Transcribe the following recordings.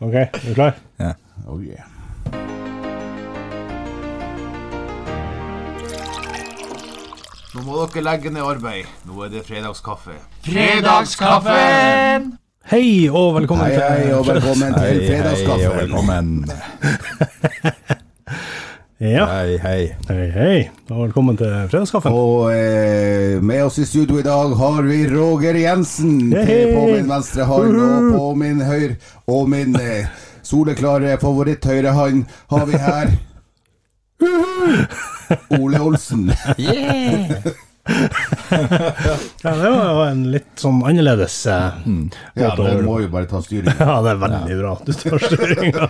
OK, er du klar? Oh yeah. Nå må dere legge ned arbeid. Nå er det fredagskaffe. Fredagskaffen! Hei og velkommen Hei, hei, og velkommen til Hei, hei, og fredagskaffen. velkommen. til Ja, Hei, hei. hei, hei. Og velkommen til fredagskaffen. Og eh, med oss i studio i dag har vi Roger Jensen. Hei, til På hei. min venstre hånd og på min høyre og min eh, soleklare favoritthøyre hånd har vi her Ole Olsen. Ja, det var jo en litt sånn annerledes eh, Ja, måte å den gjøre det på. må jo bare ta styring. Ja, det er veldig bra. Du tar styringa.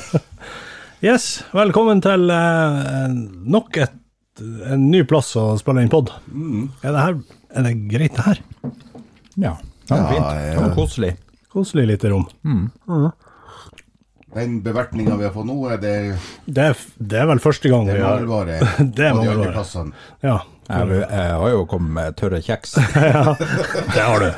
yes, velkommen til eh, nok et, en ny plass å spille inn pod. Mm. Er det her er det greit, det her? Ja, det var fint. ja. Det var koselig. Koselig lite rom. Mm. Den bevertninga vi har fått nå, er det Det er, f- det er vel første gang det vi har mangelvare Det er på de mangelvare. andre plassene. Ja, Jeg, jeg har jo kommet med tørre kjeks. det har du.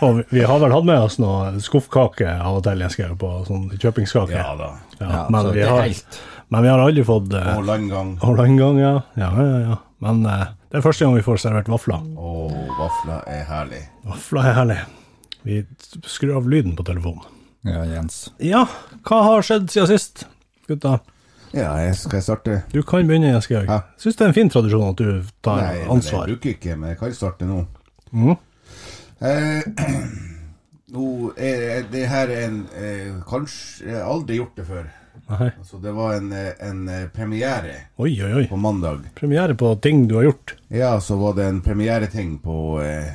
Og vi- vi har vel hatt med oss noe skuffkake av og til, jeg skrev på sånn kjøpingskake. Ja da. Ja, Ja, men, så vi det er har, helt- men vi har aldri fått eh, Og landgang Hollandgang, ja. Ja, ja, ja. Men eh, det er første gang vi får servert vafler. og vafler er herlig. Vafler er herlig. Vi skrur av lyden på telefonen. Ja, eh, Jens. Ja, hva har skjedd siden sist, gutta? Ja, jeg- skal jeg starte? Du kan begynne, Jens Georg. Hæ? Syns det er en fin tradisjon at du tar Nei, men ansvar. jeg bruker ikke, men jeg kan starte nå. Mhm. Eh, nå er det her er en eh, Kanskje jeg har aldri gjort det før. Nei. Altså, det var en, eh, en eh, premiere Oi, oi, oi. på mandag. Premiere på ting du har gjort. Ja, så var det en premiereting på, eh,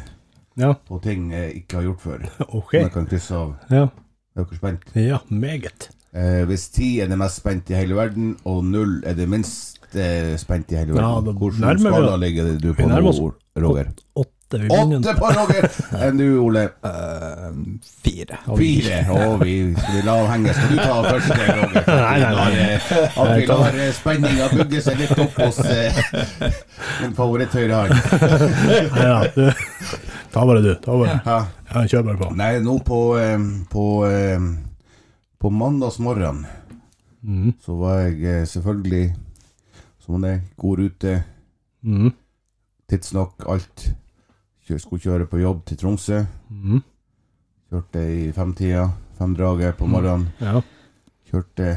Ja, på ting jeg ikke har gjort før. OK. Som jeg kan krysse av. Ja, Er dere spent? ja meget. Eh, hvis ti er det mest spent i hele verden, og null er det minst eh, spent i hele Ja, da verden, nærmer hvordan vi skala oss. ligger du Vi på nærmer nå, oss. Roger? Åtte. Vi begynner. Åtte på Roger! Enn du, Ole? Eh, fire. Fire. Og vi skal vi la henge. Skal du ta første, Roger? Nei, nei, nei. At vi lar spenninga bygge seg litt opp hos eh, min favoritt høyre hånd. Nei da, du. Ta bare du. Ta bare. Ja. Ja, kjør bare på. Nei, nå på eh, På, eh, på mandagsmorgen Mm, så var jeg eh, selvfølgelig, som det, god rute, Mhm. tidsnok alt. Kjør, skulle kjøre på jobb til Tromsø. Mhm. Kjørte i femtida, femdraget Mm. på morgenen. Ja. kjørte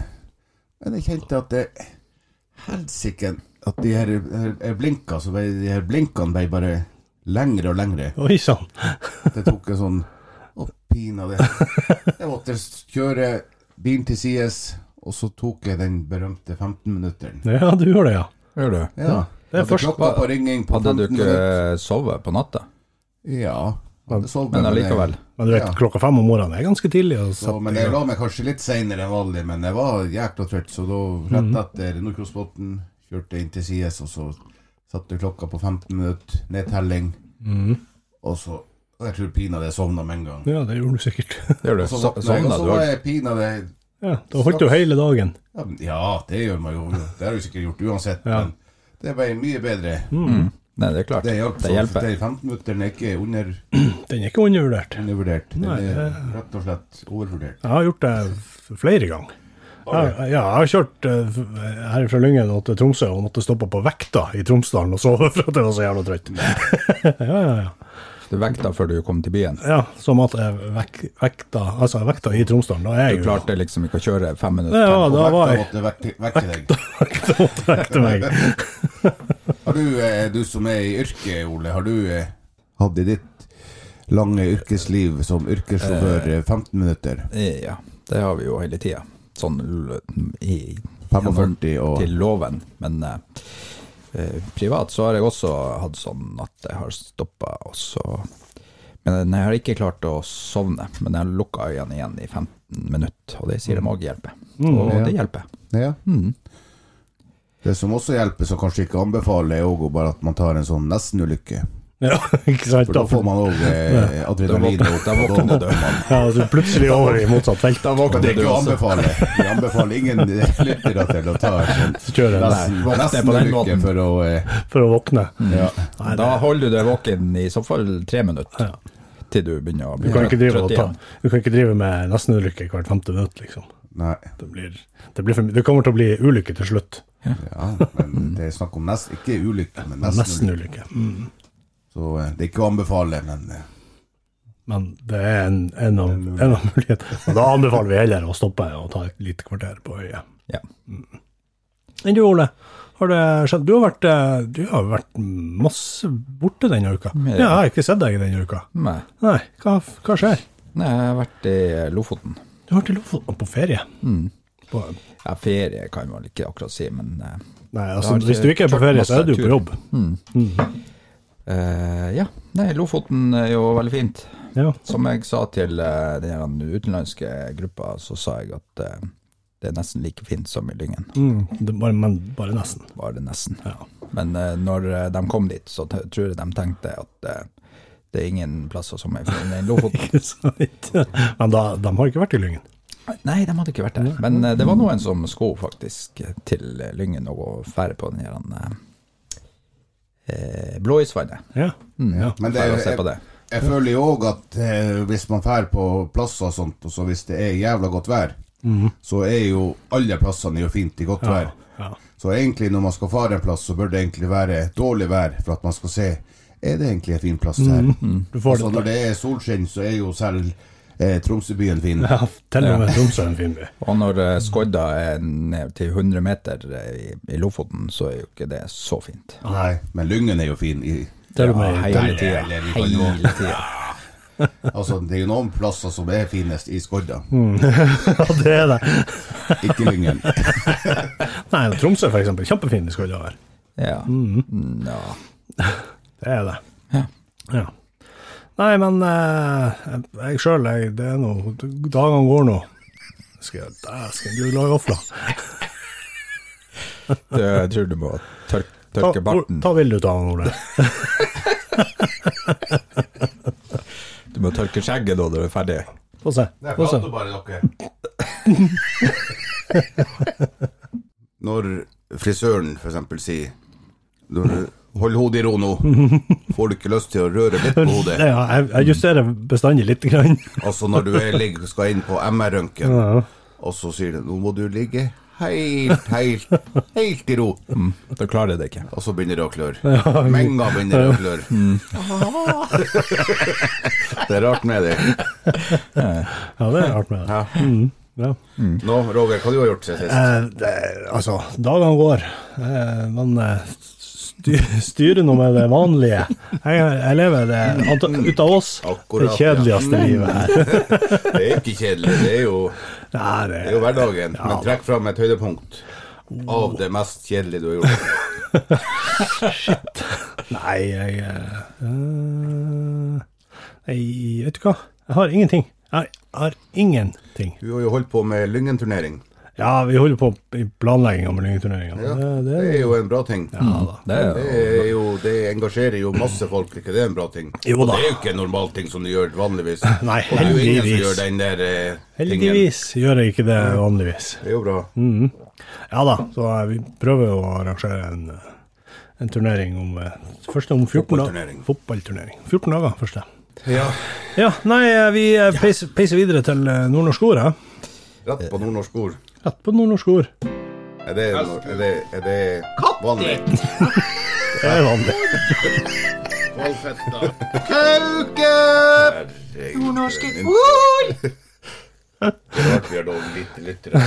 Men jeg kjente at det Helsike At de her, her, her blinka så ble, De her blinkene ble bare Lengre og lengre Oi sann. Det tok en sånn Å pina det Jeg måtte kjøre bilen til sides Og så tok jeg den berømte 15 minutteren Ja, du gjør det, ja. Gjør du? Ja Det er Hadde først- klokka på ringing på Hadde 15 du ikke minutter sovet på natta? Ja hadde sovet, Men jeg- allikevel. Men du vet, Ja. klokka fem om morgenen er ganske tidlig. å Så, sette men i jeg gang. la meg kanskje litt seinere enn vanlig, men jeg var jækla trøtt, så da Mhm. rett etter Nordkjosbotn kjørte jeg inn til sides, og så satte klokka på 15 minutter, nedtelling, Mhm. og så og Jeg tror pinadø jeg sovna med en gang. Ja, det gjorde du sikkert. Gjør du? Og så So- våkna jeg, og Sovna så du var òg? jeg pinadø Ja, Da holdt du hele dagen. ja, men- Ja, det gjør man jo. Det har du sikkert gjort uansett, Ja. Mhm. men det ble mye bedre. Mm. Nei, det er klart. Det hjalp. Det så hjelper. De 15-minutteren er ikke under, Den er ikke undervurdert. undervurdert. Den Nei, er det- rett og slett overvurdert. Jeg har gjort det f- flere ganger. Jeg, ja, jeg har kjørt eh, f- her fra Lyngen og til Tromsø og måtte stoppe på vekta i Tromsdalen og sove for at jeg var så jævla Mm. trøtt. ja, ja, ja. Du vekta før du kom til byen. ja, Som at jeg vek, vekta Altså, jeg vekta i Tromsdalen, da er Du jeg jo klarte liksom ikke å kjøre fem Ja, minutter. da var jeg Vekta måtte vekke, vekke deg. Da måtte jeg vekte meg. Har du, eh, du som er i yrket, Ole, har du eh, hatt i ditt lange yrkesliv som yrkessjåfør eh, 15 minutter? Ja, det har vi jo hele tida. Sånn l- i 45 gjennom og til loven. Men eh, eh, privat så har jeg også hatt sånn at jeg har stoppa, og så Men jeg har ikke klart å sovne. Men jeg har lukka øynene igjen i 15 minutter, og det sier de Mm. òg hjelper. Og ja. det hjelper. ja. Mm. Det som også hjelper, som kanskje ikke anbefaler, er også bare at man tar en sånn nestenulykke. Ja, ikke sant? For da får man òg eh, Da adrenalin. våkner- da våkner du. Ja, altså, plutselig over i motsatt felt. Da Men det våkner er du ikke å også. anbefale. Vi anbefaler ingen lyttere til å ta en sånn Kjøre en nesten- Mm. Nei, våkne på den nestenulykke måten. for å eh, for å våkne. ja. Nei, det, Da holder du deg våken i så fall tre minutter. til du begynner å Du bli kan ikke drive, trøtt og ta, igjen. du kan ikke drive med nestenulykke hvert femte minutt, liksom. Nei. Det, blir, det, blir for, mye. det kommer til å bli ulykke til slutt. Ja, men det er snakk om nest, ikke ulykke, men nesten ulykke. Nestenulykke. Mm. Så eh, det er ikke å anbefale, men eh, Men det er en, en, av, en av mulighetene. Og da anbefaler vi heller å stoppe og ta et lite kvarter på øyet. Ja. Enn Mm. du, Ole? Har det skjedd? Du har vært, eh, du har vært masse borte denne uka. Ja. Ja, jeg har ikke sett deg denne uka. Nei. Nei, hva, hva skjer? Nei, jeg har vært i Lofoten. Mm. Du har vært i Lofoten på ferie. På, Ja, ferie kan man ikke akkurat si, men eh, nei, Da har altså, ikke hvis du ikke er på klart ferie, så er masse du på tur. jobb. Mm. eh, ja. Nei, Lofoten er jo veldig fint. Ja. Som jeg sa til eh, den her utenlandske gruppa, så sa jeg at eh, det er nesten like fint som i Lyngen. Mm, det, bare, men bare nesten. Var det nesten. Men eh, når eh, de kom dit, så t tror jeg de tenkte at eh, det er ingen plasser som er fine i Lofoten. Ikke sant? Men da, de har ikke vært i Lyngen. Nei, de hadde ikke vært der. Men eh, det var noen som skulle faktisk til eh, Lyngen og gå og fære på den her eh, eh, Blåisvannet. Ja. Mm. ja. Men det, Bare å jeg, se på jeg, det. føler jo òg at eh, hvis man drar på plasser og sånt, og så hvis det er jævla godt vær, så er jo alle plassene jo fint i godt vær. Mhm. ja. Så egentlig når man skal fare en plass, så bør det egentlig være dårlig vær for at man skal se er det egentlig en fin plass her. Du Mhm. får Altså, det når det er solskinn, så er jo selv eh, Tromsøbyen fin. Ja, til og med Tromsø er en fin by. Og når eh, skodda er ned til 100 meter eh, i, i Lofoten, så er jo ikke det så fint. Nei, men Lyngen er jo fin. I, Til og med i Ja, hele Italia. tida. eller vi kan jo- Hele tida. altså, det er jo noen plasser som er finest i Skodda, Mm. Ja, det er det. ikke Lyngen. Nei, Tromsø for eksempel, kjempefin det skal det være. Ja. Mm. Mm. ja. Det er det. Ja. Ja. Nei, men eh, jeg sjøl, jeg, det er nå Dagene går nå. Skal jeg Dæsken, du lager vafler. Du, jeg tror du må tørke, Ta, tørke barten. ta bilde ut av han, Ole. Du må tørke skjegget da du er ferdig. Få se. Få se. Når frisøren for eksempel sier når du, Hold hodet i ro nå. Får du ikke lyst til å røre litt på hodet? Ja, jeg, jeg justerer bestandig lite grann. Altså når du er, ligger, skal inn på MR-røntgen, og så sier du Nå må du ligge helt, helt, helt i ro. Du klarer det ikke. Og så begynner det å klør. Menga begynner det å klør. Det er rart med det. Ja, det er rart med det. Mm, Ja. Ja. Nå, Roger, hva du har gjort siden sist? Eh, det, altså, dagene går. Eh, men eh, styr, styrer nå med det vanlige. Jeg, jeg lever det anta- ut av oss. Akkurat, det kjedeligste ja. livet her. Det er ikke kjedelig. Det er jo, Nei, det, eh, det er jo hverdagen. Men trekk fram et høydepunkt av det mest kjedelige du har gjort. nei jeg eh, eh, Nei, vet du hva? Jeg har ingenting. Jeg har, jeg har ingenting. Du har jo holdt på med Lyngen-turnering. Ja, vi holder på i planlegginga med Lyngeturneringa. Ja, Det, det det, er jo en bra ting. Det er Det, jo er jo, det engasjerer jo masse folk, ikke det er en bra ting? Jo da. Og Det er jo ikke en normal ting som du gjør vanligvis. Nei, Og det er jo ingen som heldigvis. gjør den der eh, tingen. heldigvis Mm. gjør jeg ikke det vanligvis. Det er jo bra. Ja da, så eh, vi prøver å arrangere en, eh, en turnering om eh, Først om 14 dager. Fotballturnering. Fotballturnering. 14 dager første. Ja, Ja, nei, eh, vi eh, peiser, peiser videre til eh, nordnorsk ord, ja. Rett på nordnorsk ord. Rett på nordnorsk ord. Er det, er det, er det vanlig? Det er vanlig. Kauke! Nordnorske ord! Det er rart vi har da lite lyttere.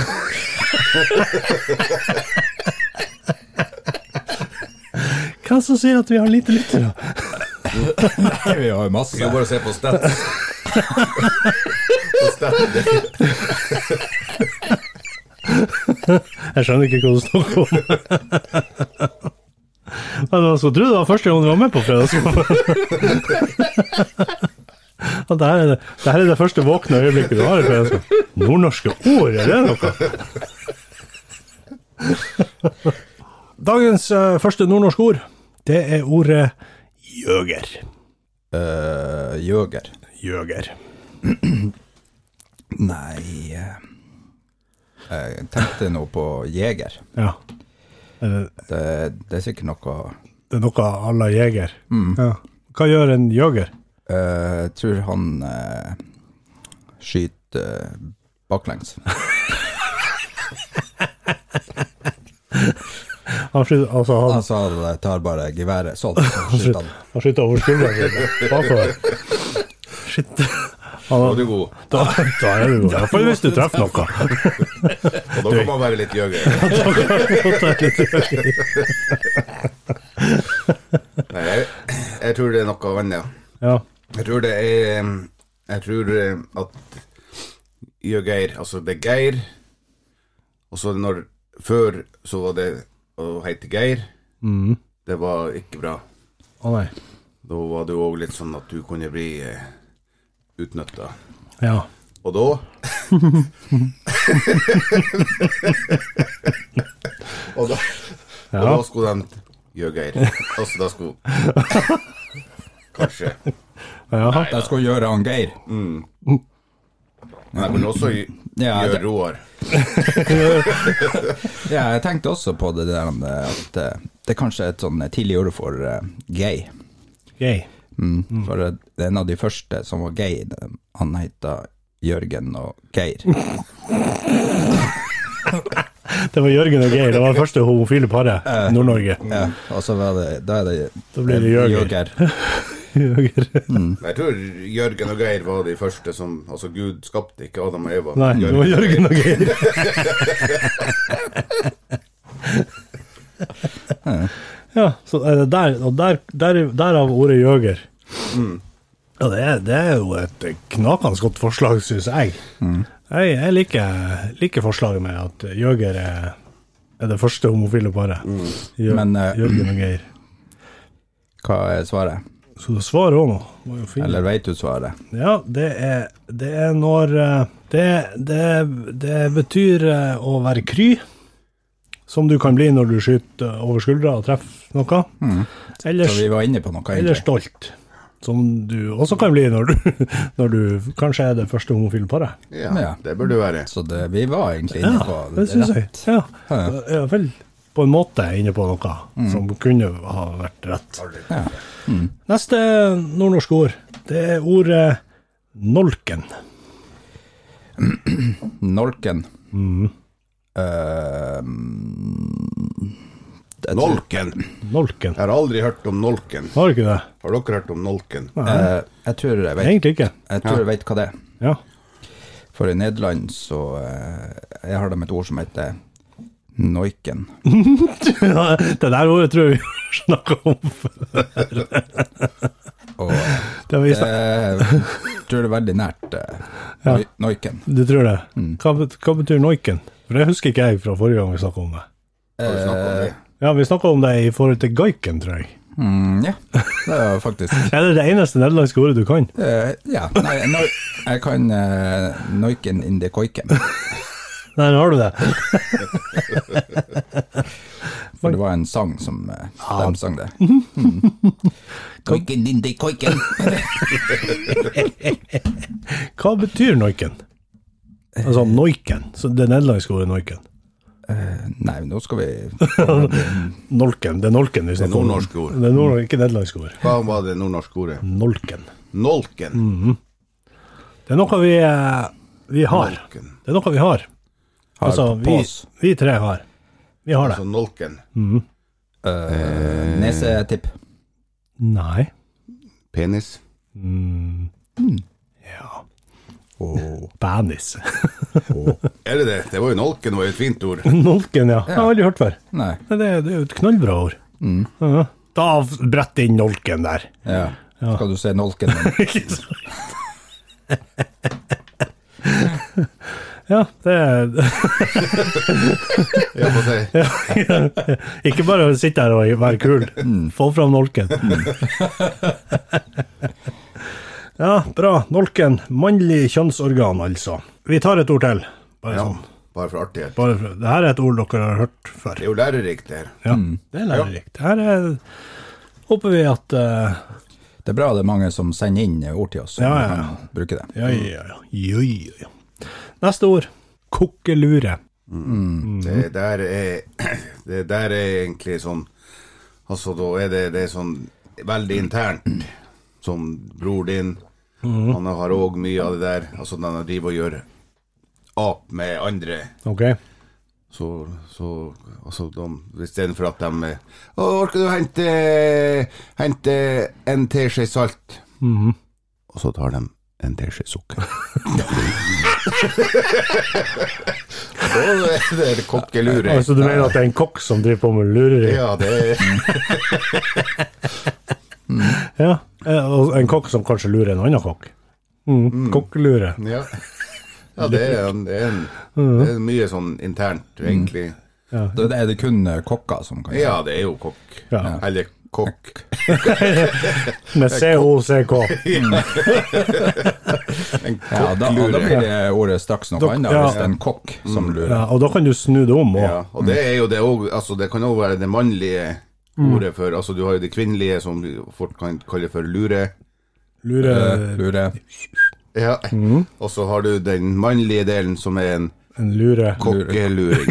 Hva som sier at vi har lite lyttere? Nei, Vi har jo Vi kan masse. bare se på stats. På stats. Jeg skjønner ikke hva du snakker om. Men man skulle tro det var første gang du var med på fredagskampen. Og det her, er det, det her er det første våkne øyeblikket du har i fredagskamp. Nordnorske ord, er det noe? Dagens eh, første nordnorske ord, det er ordet jøger. Eh, Jøger. Jøger. Nei eh, Jeg tenkte nå på jeger. Ja. Er det, Det, det er sikkert noe det er noe à la jeger. Ja. Hva gjør en jøger? Eh, Jeg tror han eh, skyter eh, baklengs. Han skyter, altså, han, Han sa det, tar bare geværet sånn, så skyter han. han skyter over skulderen sin, bakover. Shit. Han, du er god. da, da er du god. Iallfall hvis du treffer noe. Og da kan man være litt jøger. Nei, jeg, jeg tror det er noe annet. Ja. Jeg tror det er Jeg tror at Jøgeir, altså det er Geir Og så når Før så var det å hete Geir Det var ikke bra Å nei. Da var det jo også litt sånn at du kunne bli eh, utnyttet Ja. Og da Og da Og da skulle de Jøgeir Altså da skulle Kanskje Ja. Jeg skal gjøre han Geir. Men jeg kunne også gj- Ja, gjøre det- Roar Ja, jeg tenkte også på det der med at eh, det kanskje er et sånn tidlig ord for eh, gay. Gøy. Mm. For eh, det er en av de første som var gay, eh, han heter Jørgen og Geir. Det var Jørgen og Geir. Det var det første homofile paret i Nord-Norge. Ja, og så var det, da er det Mm. Da blir det Jørgen. Jørgen. Men Jeg tror Jørgen og Geir var de første som Altså, Gud skapte ikke Adam og Eva. Nei, det var Jørgen og Geir. ja, så er det der, og der, der, derav ordet jøger. Mm. Ja, det er, det er jo et knakende godt forslag, syns jeg. Mm. Jeg, jeg liker, liker forslaget med at jøger er, er det første homofile paret. Jø- Men, eh, Jørgen og Geir. Hva er svaret? Så du svarer òg nå. Må jo finne- Eller veit du svaret? Ja, det er, det er når eh, det, det, det betyr eh, å være kry, som du kan bli når du skyter over skuldra og treffer noe. Mm. Så Eller, vi var inne på noe, eller egentlig. stolt, som du også kan bli når du, når du kanskje er det første homofile paret. Ja, Ja. det burde være. Så det, vi var egentlig Ja, inne på det syns jeg. rett. Ja, Ja. Mm. jeg er vel på en måte inne på noe som kunne ha vært rett. Ja. Mm. Neste nordnorske ord, det er ordet nolken. Nolken. Mm. Eh, Nolken. Nolken. Jeg har aldri hørt om Nolken. Har du ikke det? Har dere hørt om Nolken? Eh, jeg tror jeg vet, Egentlig ikke. jeg tror jeg vet hva det er. Ja. For i Nederland så eh, Jeg har dem et ord som heter noiken. Ja, det der ordet tror jeg vi har snakka om. Og eh, Det har vi snakket- jeg tror det er veldig nært eh, noi- noiken. du tror det? Mm. Hva, bet- hva betyr noiken? For det husker ikke jeg fra forrige gang vi snakka om det. Har du snakket om det? Ja, Vi snakka om det i forhold til gaiken, tror jeg. Mm, ja, det er faktisk Er det det eneste nederlandske ordet du kan? eh, Ja, nei, noi, jeg kan eh, noiken in the koiken. Der har du det. For det var en sang som eh, de sang det. Mhm. Mm. Koiken in the koiken. Hva betyr noiken? Altså noiken. Så det nederlandske ordet noiken. Nei, nå skal vi Nolken. Det er nolken Eh, vi snakker om. nordnorske ord. Det er nord ikke nederlandske ord. Hva var det nordnorske ordet? Nolken. Nolken. Det er noe vi, eh, vi har. Nolken. Det er noe vi har. ha Altså, på vi, oss vi tre har. Vi har Altså det. Nolken. eh, nesetipp. Nei. Penis. Ja. Oh. Banis. Er det det? Det var jo Nolken, var jo et fint ord. Nolken, ja. Jeg har aldri hørt før. Nei. Nei, Det, det er jo et knallbra ord. Ja. Da brett inn nolken der. Ja. Skal du se nolken? Ikke sant? ja, det er Ja, få se. Ikke bare å sitte her og være kul. Få fram nolken. ja, bra. Nolken. Mannlig kjønnsorgan, altså. Vi tar et ord til. Bare Ja, sånn. bare for artighet. Bare for, det her er et ord dere har hørt før. Det er jo lærerikt, det her. Ja, det er lærerikt. Her er, håper vi at eh, Det er bra det er mange som sender inn eh, ord til oss. så Ja, vi ja, kan ja. Bruke det. ja, ja, ja. ja, ja, ja. Neste ord. Kokkelure. Det der er Det der er egentlig sånn Altså, da er det, det er sånn veldig internt. som bror din. Han har òg mye av det der. Altså, når han driver og gjør ap med andre OK. så, så altså, de, Istedenfor at de eh, Å, orker du å hente, hente en teskje salt? Mhm. Og så tar de en teskje sukker. Så det er kokkelure. Altså, du mener at det er en kokk som driver på med lureri? Ja, det er Ja. eh, Og en kokk som kanskje lurer en annen kokk. Mm. Kokkelure. Ja, ja det, er en, det, er en, Mm. det er mye sånn internt, egentlig. Da er det kun eh, kokker som kan Ja, det er jo kokk. Ja. Eller kokk. Med COCK. En Ja, da, da kokklure. blir det ordet straks noe Dok- annet ja. hvis det er en kokk som lurer. Ja, og da kan du snu det om òg. Ja, og det er jo det òg altså, Det kan òg være det mannlige Mm. ordet for Altså, du har jo det kvinnelige som du fort kan kalle for lure. Lure Eh, Lurer. Ja. Mm. Og så har du den mannlige delen som er en en lure. kokkeluring.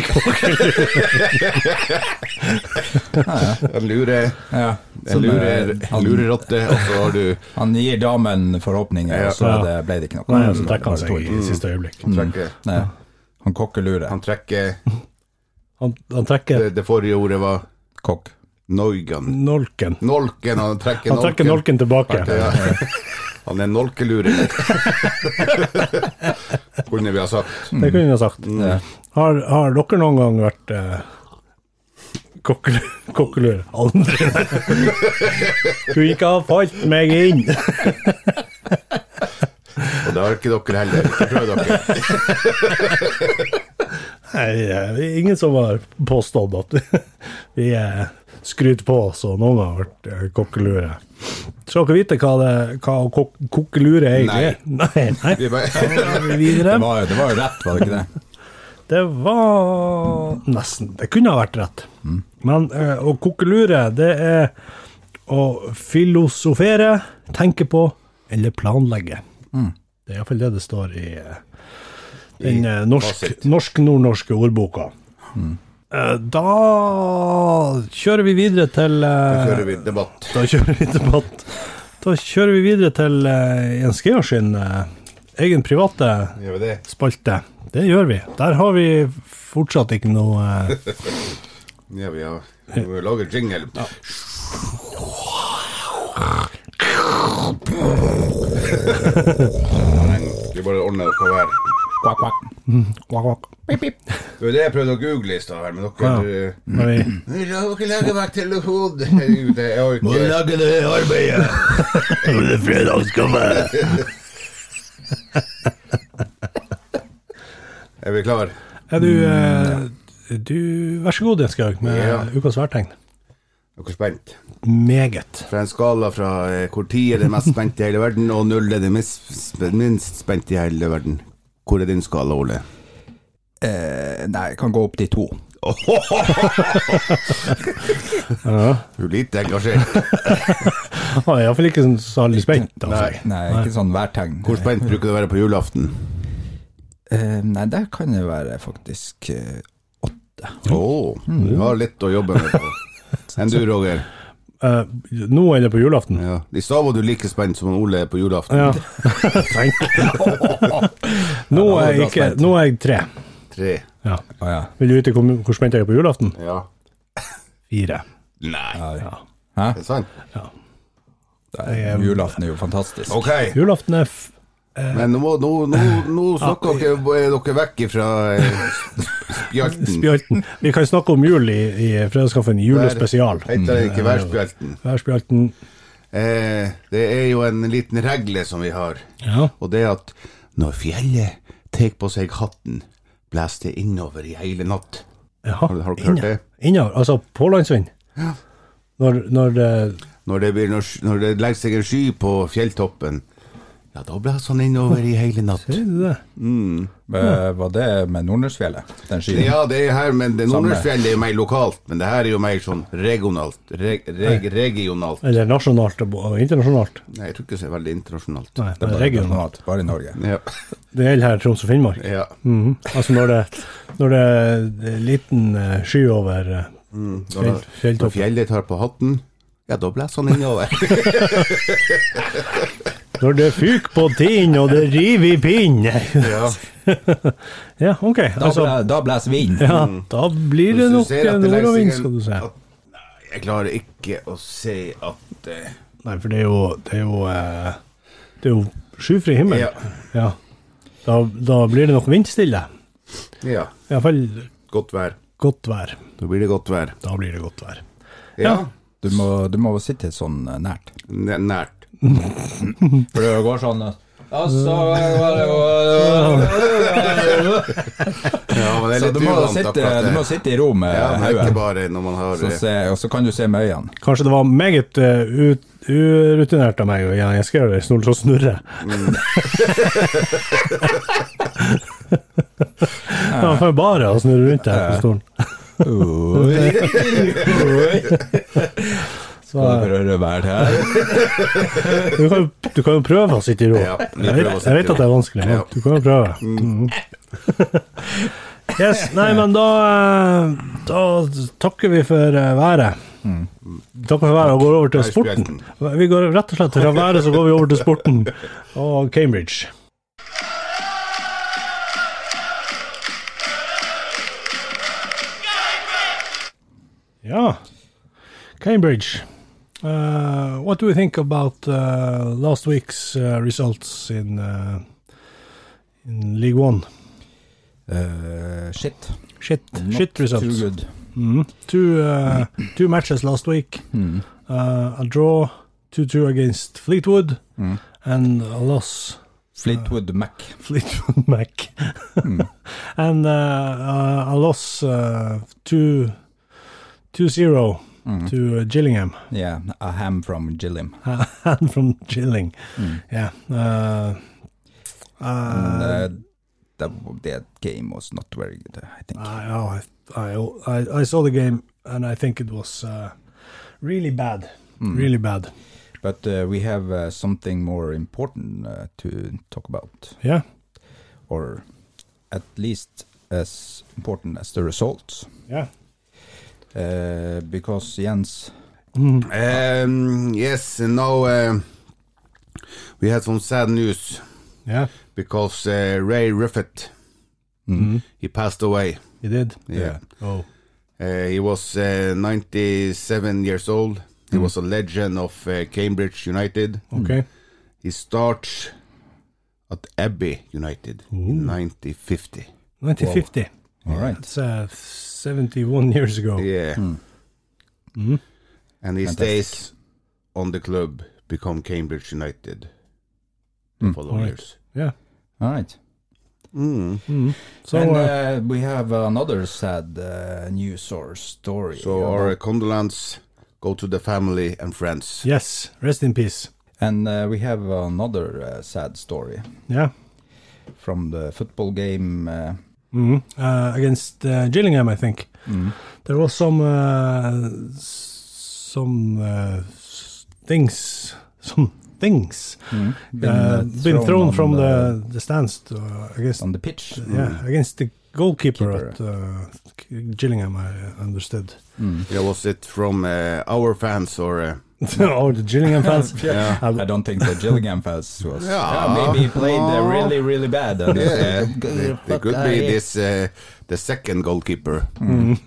en lure, Ja. en Som, lure, eh, han- lurerotte, og så har du Han gir damen forhåpninger, Ja. og så er det, ble det ikke noe. Nei, så trekker han Bare seg to. i siste øyeblikk. trekker, Nei, han kokkelurer. Han trekker Han, han trekker det, det forrige ordet var Kokk. noigan. nolken. Nolken, han trekker Han trekker nolken tilbake. Ja. Han er en nolkeluring. Kunne vi ha sagt. Det kunne jeg sagt. Har, har dere noen gang vært eh, kokkelu- kokkelur? Aldri. Du ikke har falt meg inn. Og det har ikke dere heller. Ikke prøv dere. Nei, det er ingen som har påstått at vi eh, skryter på oss, og noen har vært eh, kokkelure. Skal dere vite hva, det, hva kok kokkelure egentlig er? Nei. nei. Vi bare, Da er vi Det videre. var, jo- det var jo rett, var det ikke det? Det var nesten. Det kunne ha vært rett. Men eh, å kokkelure, det er å filosofere, tenke på eller planlegge. Det er iallfall det det står i eh, den eh, norsk- fasit. norsk-nordnorske ordboka. Eh, Da kjører vi videre til eh, kjører vi debatt. Da kjører vi debatt. Da kjører vi videre til eh, Jens Georg sin eh, egen private Gjør vi det? spalte. Det gjør vi. Der har vi fortsatt ikke noe eh, Ja, vi har vi må jo lage jingle. Vi bare ordner oss på hver. Kvakk, kvakk. kvakk, kvakk. Det var det jeg prøvde å google i stad her, men dere Ja. Når vi- Vi lager lage vekk telefon. Herregud, jeg har jo lage ikke det arbeidet. Når fredagskaffen. Er vi klar? Er du, eh, du Vær så god, Jens Georg, med Ja. ukas værtegn. Dere er spent? Meget. Fra en skala fra eh, hvor ti er det mest spent i hele verden, og null er det minst, sp- minst spent i hele verden. Hvor er din skala, Ole? Eh, Nei, kan gå opp til to. Du er lite engasjert. Han er iallfall ikke sånn særlig spent. Altså. Nei, ikke sånn værtegn. Hvor spent bruker du å være på julaften? Eh, Nei, der kan det være faktisk eh, åtte. Å, du har litt å jobbe med. På. Enn du, Roger? Eh, nå er det på julaften. Ja. I stad var du like spent som Ole er på julaften. Ja. Tenk. Nå er jeg ikke Nå er jeg tre. Tre. Ja. Å ja. Vil du vite hvor, hvor spent jeg er på julaften? Ja. Fire. Nei, Hæ? det er sant. Nei, Julaften er jo fantastisk. Ok, Julaften er f men nå, må- nå, nå, nå snakker dere, er dere vekk ifra eh, spjalten. Spjalten. Vi kan snakke om jul i, i Fredagskaffen julespesial. Heter det ikke værspjalten? Værspjalten. Eh, det er jo en liten regle som vi har, Ja. og det er at når fjellet tar på seg hatten, blåser det innover i hele natt. Jaha. Har du- har du hørt Inne- det? innover, altså pålandsvind? Når, når eh, det Når det, blir, når, når det legger seg en sky på fjelltoppen, ja, da blåser han innover i hele natt. Er det det? Eh, Var det med Nordnesfjellet? Den skyen? Ja, det er her, men det Nordnesfjellet er jo mer lokalt, men det her er jo mer sånn regionalt. Reg, reg, regionalt. Eller nasjonalt og og internasjonalt? Nei, jeg tror ikke det er veldig internasjonalt. Nei, Det er men bare regionalt. nasjonalt, Bare i Norge. Ja, Det gjelder her Troms og Finnmark. ja. Mhm. Altså når det, når det er liten eh, sky over eh, fjell, Når fjelltoppen. fjellet tar på hatten, Ja, da blåser han innover. Når det fyker på tinn, og det river i pinn ja. Ja, OK. Da, Altså, ble- da blåser vind. ja, da blir det Mm. Hvis du nok eh, ser at det legger seg nordavind, en- skal du se. at- Nei, jeg klarer ikke å si at eh, Nei, for det er jo Det er jo, eh, det er jo skyfri himmel. Ja. Ja. Da, da blir det nok vindstille. Ja, Iallfall godt vær. godt vær. Da blir det godt vær. Da blir det godt vær. Ja, Du må, du må sitte sånn eh, nært. næ- nært. For det går sånn eh, altså, Så Ja, men det er litt du må, uvant sitte, akkurat du det. må sitte i ro med Ja, men det er hodet, ikke bare når man har så eh, se- og så kan du se med øynene. Kanskje det var meget eh, ut- urutinert av meg å ja, jeg skal gjøre det snurre og snurre. Mm. Det var for bare å snurre rundt her på stolen. Skal du prøve å være her? Du kan, jo- du kan jo prøve å sitte i ro. Ja, vi jeg, vet, prøver å sitte i jeg vet ro. at det er vanskelig, men Ja. Mm. du kan jo prøve. yes, nei, men da eh, Da takker vi for eh, været. Takker for været og går over til Takk. sporten. Vi går rett og slett fra været så går vi over til sporten og Cambridge. Ja. Cambridge. Uh, what do you think about uh, last week's uh, results in uh, in League One? Eh, shit. Shit, Not shit too results. good. Mhm. Two uh, two matches last week. Mm. Uh, a draw, two two against Fleetwood, Mm. and a loss. Fleetwood Mac. Fleetwood Mac, and uh, uh, a loss uh, two two zero to uh, Gillingham. Yeah, a ham from Gilliam. hand from chilling. Mm. Yeah. Uh, And, uh, eh, that, that game was not very good, I think. I, oh, I, I, I saw the game and I think it was uh, really bad. Really bad. But eh, we have eh, something more important eh, to talk about. Yeah. or at least as important as the results. Yeah. Uh, because Jens, Um, yes, and now uh, we had some sad news Yeah. because uh, Ray Ruffett Mm-hmm. he passed away. You did. Yeah, Oh. Uh, he was uh, 97 years old. He Mm. was a legend of uh, Cambridge United. Hmm. Okay. He starts at Abbey United in 1950. 1950. all right, That's uh, 71 years Oh. ago. Yeah, Hmm. and he stays on the club, become Cambridge United. Hmm. The following Alright. years. Yeah. all right. Mm. So, and uh, uh, we have another sad uh, news or story. So our condolence go to the family and friends. yes. Rest in peace. and uh, we have another uh, sad story Yeah. from the football game. Uh, Mhm. uh, against uh, Gillingham, I think. mm. There was some uh, s- some uh, s- things, some things been, uh, uh, been thrown on from the the stands to, uh, against uh, on the pitch. yeah against the goalkeeper Keeper. at uh, K- Gillingham. I uh, understood. Yeah, was it from uh, our fans or? Uh, oh, the Gillingham fans. Yeah. Uh, I don't think the Gillingham fans was. Yeah. Yeah, maybe he played uh, really, really bad. and- Yeah, Good they, they fuck, could I- be this uh, the second goalkeeper.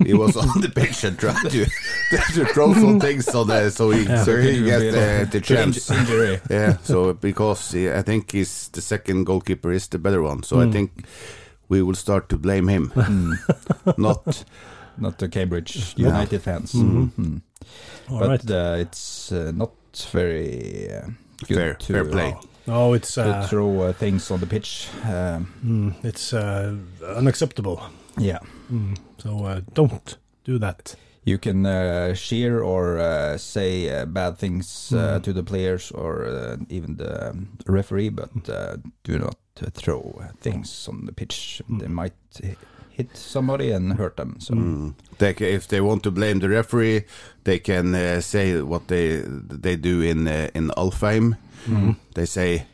He was on the pitch and tried to, to throw some things so that so he so he Could be gets the- the, the to chance. inj- Injury. Yeah, so because he, I think he's the second goalkeeper is the better one. Hmm. So I think we will start to blame him, not not the Cambridge United fans. Mhm. all But right. uh, it's uh, not very uh, good Fair- to, fair play. Oh, No, it's to uh, throw uh, things on the pitch. Um, hmm, mm, it's uh, unacceptable. yeah, Hmm, So uh, don't do that. you can uh, cheer or uh, say uh, bad things uh, to the players or uh, even the um, referee, but uh, do not uh, throw things on the pitch. They might hi- hit somebody and hurt them. So Mm. Hmm. they ca if they want to blame the referee. They can uh, say what they they do in uh, in Alfheim. Hmm. They say.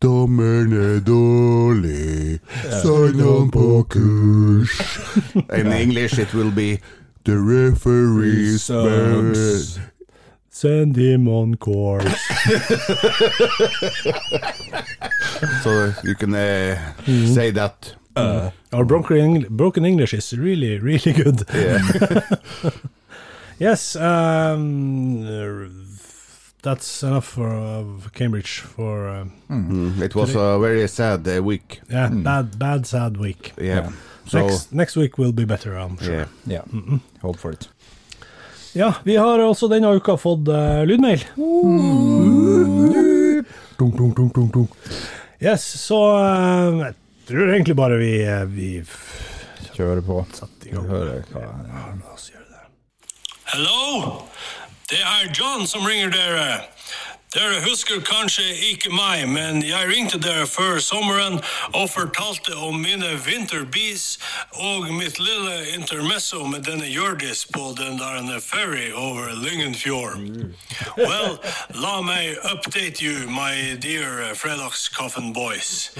Dommerne dårlig, sign on på kurs. In English it will be The referee Sucks. sucks. Send him on course. So you can uh, Hmm. say that. Hmm. Our broken, Eng- broken English is really, really good. yes, um, er, that's enough for uh, Cambridge for uh, Mm, It was a very sad uh, week. yeah bad bad sad week. Yeah. So next next week will be better, I'm sure. yeah. Ja. Hope for it. Ja, vi har også denne uka fått eh, lydmail. Dunk, dunk, dunk, dunk, dunk. Yes, så eh, jeg tror egentlig bare vi, eh, vi f- Kjøre på. setter i gang. Høre hva Ja, la oss gjøre det. Hello? Det er John som ringer dere. Dere husker kanskje ikke meg, men jeg ringte dere før sommeren og fortalte om mine vinterbees og mitt lille intermesso med denne Hjørdis på den der ferry over Lyngenfjord. Well, la meg update you, my dear eh, fredagskaffen boys.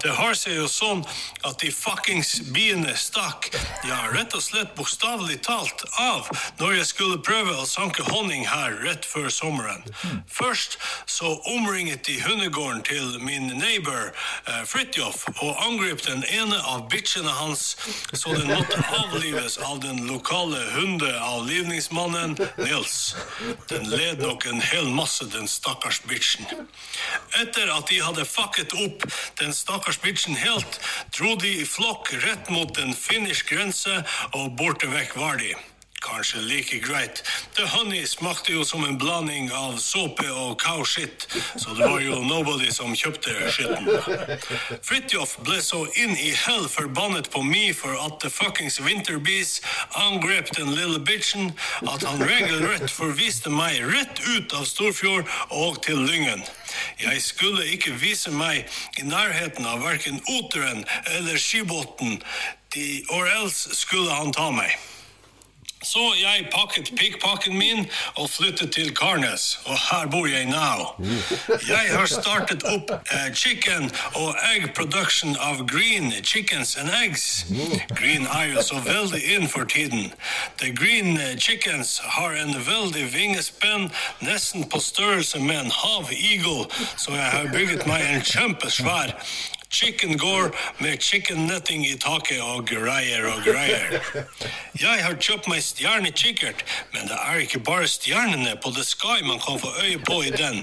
Det har seg jo sånn at de fuckings biene stakk, ja, rett og slett bokstavelig talt, av når jeg skulle prøve å sanke honning her rett før sommeren. Først så omringet de hundegården til min neighbor eh, Fridtjof og angrep den ene av bitchene hans, så den måtte avlives av den lokale hundeavlivningsmannen Nils. Den led nok en hel masse, den stakkars bitchen. Etter at de hadde fucket opp den stakkars bitchen helt, dro de i flokk rett mot den finnisk grense, og borte vekk var de. Kanskje like greit. The honey smakte jo som en blanding av såpe og cowshit, så det var jo nobody som kjøpte skitten. Fridtjof ble så inn i hell forbannet på meg for at the fuckings winterbees angrep den lille bitchen, at han regelrett forviste meg rett ut av Storfjord og til Lyngen. Jeg skulle ikke vise meg i nærheten av verken Oteren eller Skibotn, de- or else skulle han ta meg. Så jeg pakket pikkpakken min og flyttet til Karnes, og her bor jeg nå. Jeg har startet opp eh, chicken og egg production of green chickens and eggs. Green er jo så veldig inn for tiden. The green eh, chickens har en veldig vingespenn, nesten på størrelse med en havigel, så jeg har bygget meg en kjempesvær Chicken går med chicken netting i taket og greier og greier. Jeg har kjøpt meg stjernekikkert, men det er ikke bare stjernene på The Sky man kan få øye på i den.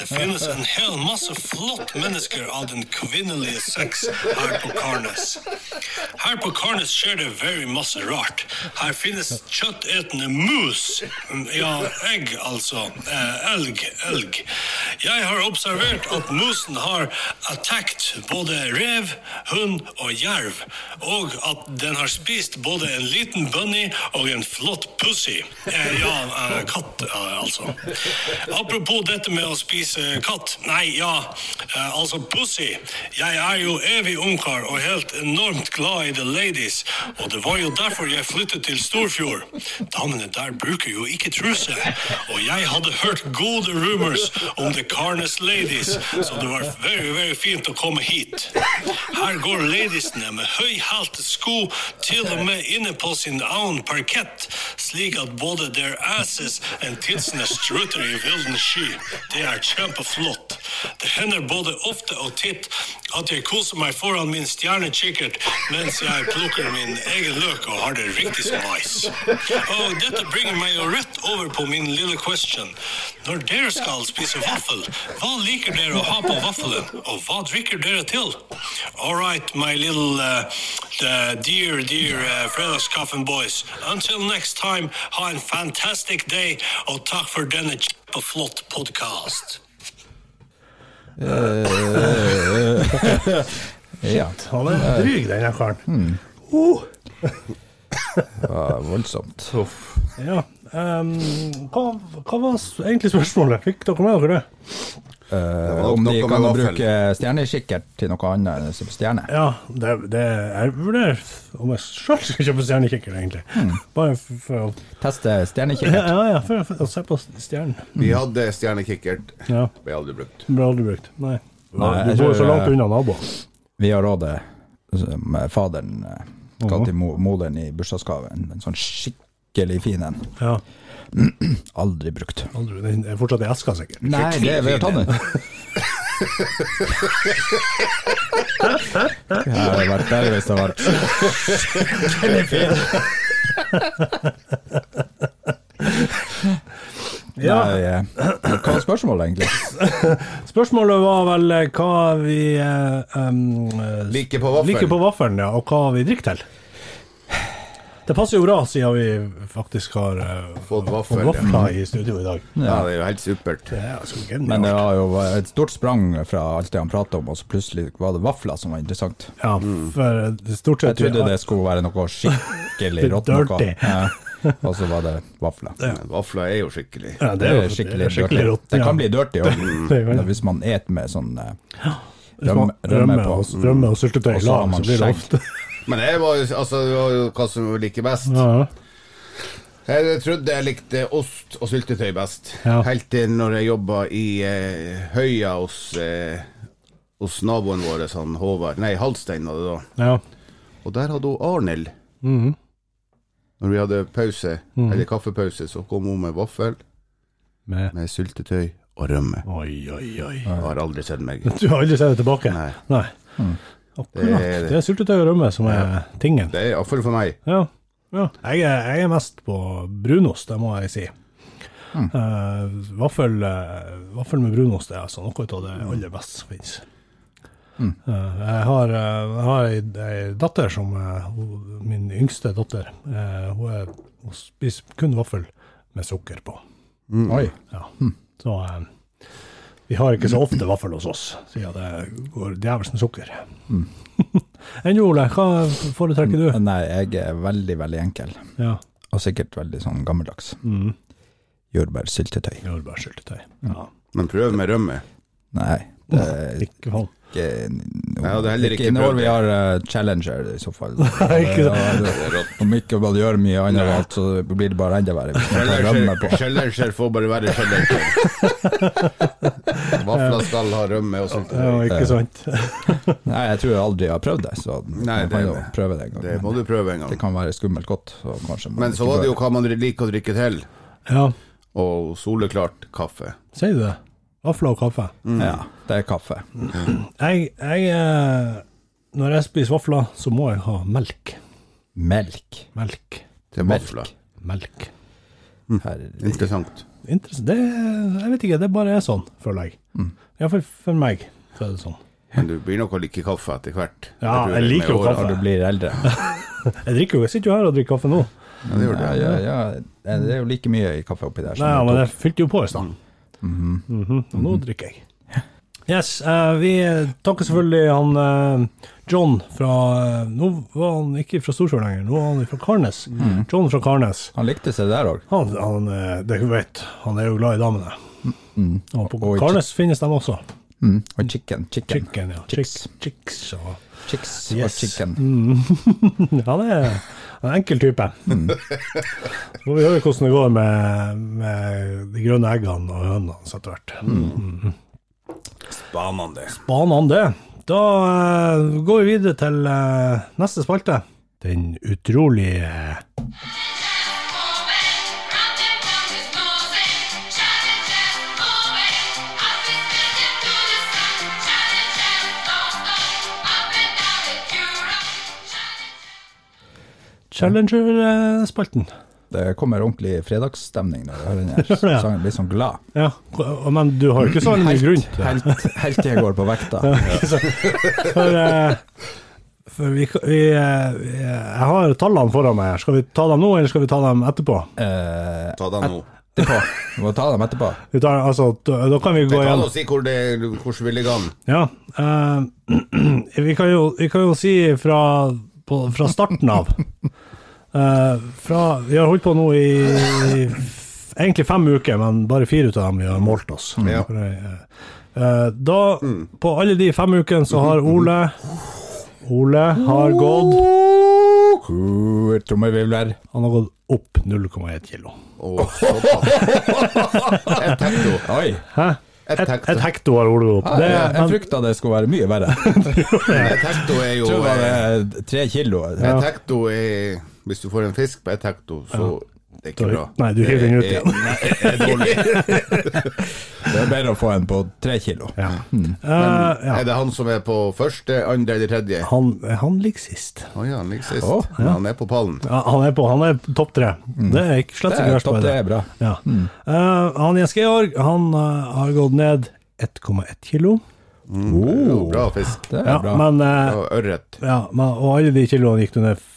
Det finnes en hel masse flott mennesker av den kvinnelige sex her på Karnes. Her på Karnes skjer det very masse rart. Her finnes kjøttetende mus. Ja, egg, altså. Eh, elg, elg. Jeg har observert at musen har attackt både rev, hund og jerv, og at den har spist både en liten bunny og en flott pussy. Eh, ja, eh, katt, eh, altså. Apropos dette med å spise katt. Nei, ja, eh, altså pussy. Jeg er jo evig ungkar og helt enormt glad i the ladies, og det var jo derfor jeg flyttet til Storfjord. Damene der bruker jo ikke truse, og jeg hadde hørt gode rumors om the Carnes ladies, så det var very, very fint å komme hit. Her går ladiesene med høyhalte sko til og med inne på sin annen parkett, slik at både their asses and titsene strutter i vilden sky. Det er kjempeflott. Det hender både ofte og titt at jeg koser meg foran min stjernekikkert mens jeg plukker min egen løk og har det riktig som nice. Og dette bringer meg jo rett over på min lille question. Når dere skal spise vaffel, hva liker dere å ha på vaffelen, og hva drikker dere til? All right, my little uh, uh, dear, dear uh, fredagskaffen boys. Until next time, ha en fantastic day, og takk for denne kjempeflott podcast. Ja, Han er dryg, denne karen. det var voldsomt. Ja. Um, hva, hva var s- egentlig spørsmålet? Fikk dere med dere det? Eh, var om de Uh, noe med kan vaffel. bruke stjernekikkert til noe annet enn å se på stjerne. Ja, det, det jeg vurderer om jeg sjøl skal kjøpe stjernekikker, egentlig. Bare for, for å Teste Hmm. ja, stjernekikkert. ja, ja, for, for å se på stjernen. Vi hadde stjernekikkert. Ja. Ble aldri brukt. Ble aldri brukt. Nei. Nei, du jeg bor jo tror- så langt unna naboen. Vi har rådet eh, som faderen eh, ga til mo- moderen i bursdagsgave, en en sånn skikkelig skikkelig fin en. Ja. Aldri brukt. Aldri, den er fortsatt i eska, sikkert. Nei, det vi har tatt den. Jeg har vært der hvis det har vært Ja. Nei, eh, Hva var spørsmålet, egentlig? Spørsmålet var vel eh, hva vi eh, em, eh, Like på vaffelen. liker på vaffelen, ja, og hva vi drikker til. Det passer jo bra, siden vi faktisk har eh, Fått fått vaffel. ja. vafler i studio i dag. Ja, det er jo helt supert. Det er så Men det genialt. var jo et stort sprang fra alt det han prata om, og så plutselig var det vafler som var interessant. Ja, for eh, stort Mm. Jeg sett trodde det skulle være noe skikkelig rått. noe. Dirty. Ja, Og så var det vafler. Vafler er jo skikkelig. ja, det er jo skikkelig, skikkelig dirty. rått. Det ja. kan bli dirty òg, det kan det. hvis man et med sånn eh, Hvis man rømme, rømme på. og, rømme og syltetøy i Og så har lag, man så blir det skjegg. ofte Men det var jo altså, det var jo hva som liker best. ja, ja. Jeg trodde jeg likte ost og syltetøy best, Ja. helt til når jeg jobba i eh, høya hos, eh, hos naboen vår, han Håvard Nei, Halstein var det da. ja. Og der hadde hun Arnhild. Når vi hadde pause, eller kaffepause, så kom hun med vaffel Med- med syltetøy og rømme. Oi, oi, oi. Hun har aldri sett meg. Du har aldri sett det tilbake? Nei. Mm. Akkurat. Det er- Det er syltetøy og rømme som er tingen. Det er iallfall for meg. Ja. ja. Jeg, er, jeg er mest på brunost, det må jeg si. Eh, vaffel, eh, vaffel med brunost er altså noe av det aller beste som finnes. Eh, jeg har, eh, jeg har ei, ei datter som eh, hun, Min yngste datter. eh, hun, er, hun spiser kun vaffel med sukker på. Mm, Oi. Ja. Så eh, vi har ikke så ofte vaffel hos oss, siden det går djevelsk med sukker. Enn du, Ole, hva foretrekker du? Nei, jeg er veldig, veldig enkel. Ja, Hmm. Og sikkert veldig sånn gammeldags. Jordbærsyltetøy. Jordbærsyltetøy. Ja. Men prøv med rømme. Nei. Det er Ikke faen. ikke, Jeg hadde heller ikke når prøvd vi det. har eh, Challenger, i så fall. ikke det. Ja, Om ikke man gjør mye annet, av alt, så blir det bare enda verre. hvis man tar rømme på. Kjellerskjell får bare være kjellerskjell. Vafler skal ha rømme Ja, og syltetøy. ikke sant? Nei, jeg tror jeg aldri har prøvd det, så Nei, man det- kan jo prøve det en gang. Det men må du prøve en det gang. kan være skummelt godt. Så kanskje man Men så ikke var det jo bør. hva man liker å drikke til, Ja, og soleklart kaffe. sier du det? Vafler og kaffe. Ja, det er kaffe. Jeg, jeg eh, Når jeg spiser vafler, så må jeg ha melk. Melk. Melk. Til Mm. vafler. Melk. Mm. Herregud. Interessant. Interessant. Det, jeg vet ikke, det bare er sånn, føler jeg. Iallfall for meg, så er det sånn. Men du blir nok å like kaffe etter hvert. Ja, tror jeg med liker jo årene. kaffe. Når du blir eldre. Jeg drikker jo, jeg sitter jo her og drikker kaffe nå. Ja, det gjør Ja, det. ja, ja. Det er jo like mye i kaffe oppi der. som Nei, ja, det men tok. jeg fylte jo på i stad. Mhm. Og Nå drikker jeg. Yes, eh, vi takker selvfølgelig han eh, John fra eh, Nå var han ikke fra Storsjøen lenger, nå var han fra Karnes. John fra Karnes. Han likte seg der òg. Han, han eh, det du vet, han er jo glad i damene. Og på Og i Karnes finnes de også. Mm. Og chicken. Chicken. Chicken, ja. Chicks. Chicks. Chicks og Chicks og Yes. chicken. Han er en enkel type. Så får vi høre hvordan det går med, med de grønne eggene og hønene hans etter hvert. Spanende. Banene det. Da eh, går vi videre til eh, neste spalte. Den utrolige eh, Challenger-spalten. Det kommer ordentlig fredagsstemning når jeg hører den her det, ja. sangen. Blir sånn glad. Ja, og- men du har jo ikke så veldig mye grunn til det. helt, helt til jeg går på vekta. For, eh, for vi, vi, eh, vi Jeg har tallene foran meg. her. Skal vi ta dem nå, eller skal vi ta dem etterpå? Eh, Ta deg nå. etterpå. Du må ta dem etterpå. Vi tar, altså, t- da kan vi gå Ta deg igjen. og si hvor det hvordan vil det gå. Ja, eh, vi, kan jo, vi kan jo si fra, på, fra starten av Eh, fra, Vi har holdt på nå i, i f- egentlig fem uker, men bare fire ut av dem vi har målt oss. Ja. For, eh, eh, da, på alle de fem ukene, så har Ole Ole har gått Kur, Trommevirvler. Han har gått opp 0,1 kilo. Og såpass. Et hekto. Oi. Hæ? Et Et, hekto. et hekto har Ole gått opp. Det, jeg jeg men, frykta det skulle være mye verre. Jeg Et hekto er jo tror det eh, var eh, tre kilo. Et hekto er Hvis du får en fisk på et hekto, så Det er ikke bra. Nei, du hiver den ut Det igjen. er dårlig. Det er bedre å få en på tre kilo. Ja. Eh, ja. Er det han som er på første, andre eller tredje? Å Han, han ligger sist. ja, han ligger sist. Men Han er på pallen. Ja, han er på, han er topp tre. Det er ikke slett Mm. ikke Det er verst. topp, Mm. bare det er bra. Ja. Eh, han Jens Georg han eh, har gått ned 1,1 kilo. Jo, bra fisk. Det er Ja, bra. men, eh, Og ørret. ja, men, og alle de kiloene gikk du ned f-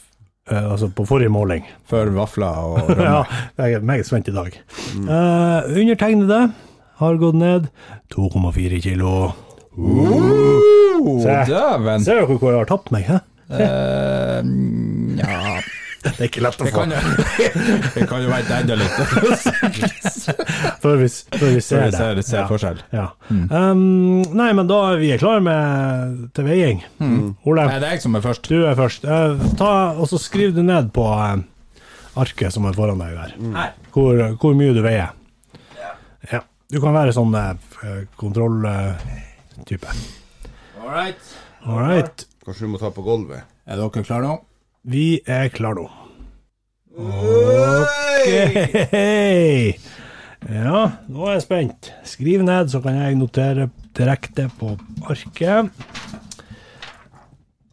eh, altså på forrige måling. For vafler og rømme. ja, jeg er meget spent i dag. Mm. Eh, undertegnede har gått ned 2,4 kilo. Oh, Se. Dæven! Ser dere hvor jeg har tapt meg? Hæ? Eh, Nja Det er ikke lett å Det kan jo Det kan jo være et enda litt Før vi, s- før vi ser Før vi det. ser- ser ja. forskjell. Ja. Um, nei, men da er vi klare med til veiing. Ole, Nei, det er jeg som er først du er først. Eh, ta, og så skriv det ned på eh, arket som er foran deg der. Hvor, hvor mye du veier. Ja. Du kan være sånn kontrolltype. All right. All right. Kanskje du må ta på gulvet. Er dere klare nå? Vi er klare nå. Ok. Ja, nå er jeg spent. Skriv ned, så kan jeg notere direkte på arket.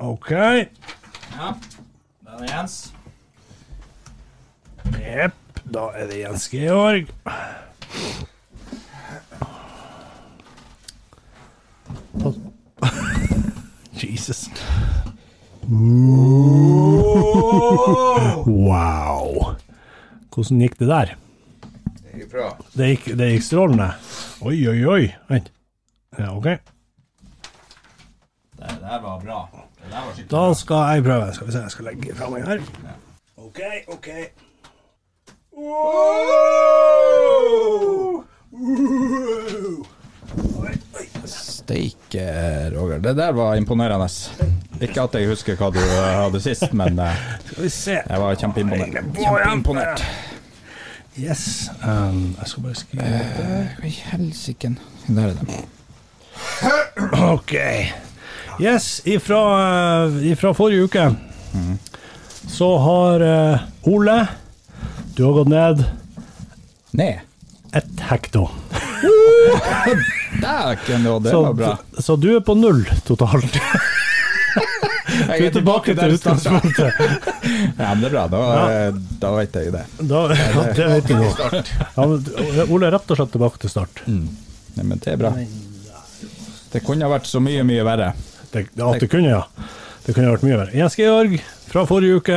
OK. Ja Den er Jens Jepp. Da er det Jens Georg. Jesus. Wow. Hvordan gikk det der? Bra. Det gikk, det gikk strålende. Oi, oi, oi. Vent. Ja, OK. Det der var bra Det der var skikkelig Da skal jeg prøve. Skal vi se, jeg skal legge fra meg her. OK, OK. Steik, eh, Roger Det der var imponerende Ikke at jeg husker hva du eh, hadde sist Men eh, Skal vi se. jeg var kjempeimponert På igjen. Kjempeimponert Yes. Um, jeg skal bare skrive litt der. Hva i helsiken Der er det OK. Yes, ifra, eh, ifra forrige uke så har eh, Ole Du har gått ned Ned ett hekto. Dæken, og det Så, var bra så du er på null totalt. Du Jeg er tilbake der til jeg startet. utgangspunktet. Ja, men det er bra Da, eh, da vet jeg det Da, ja, det vet du nå. Ja, men eh, Ole er rett og slett tilbake til start. Nei, men det er bra Det kunne ha vært så mye, mye verre Det, det, at det kunne, ja. Det kunne vært mye verre. Jens Georg fra forrige uke.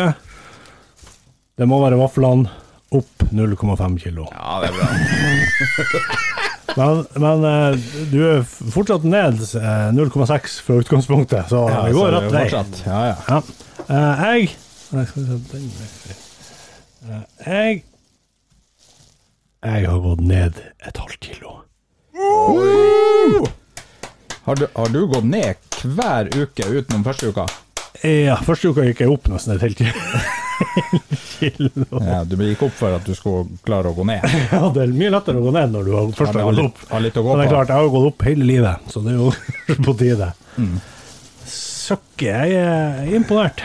Det må være vaflene opp 0,5 kilo. Ja, det er bra. Men, men eh, du er fortsatt ned eh, 0,6 fra utgangspunktet, så vi går så rett det er vei. jo fortsatt. Ja, ja. Ja. Eh, jeg Nei, skal vi se den er feil. Eh, Jeg Jeg har gått ned et halvt kilo. Har du, har du gått ned hver uke utenom første uka? Ja, første uka gikk jeg opp nesten et helt kilo. kilo. Ja, du gikk opp for at du skulle klare å gå ned. Ja, det er mye lettere å gå ned når du har Ja, først men har har gått litt- opp. har litt å gå Men det er på. klart, jeg har jo gått opp hele livet, så det er jo på tide. Mm. Søkke, jeg er imponert.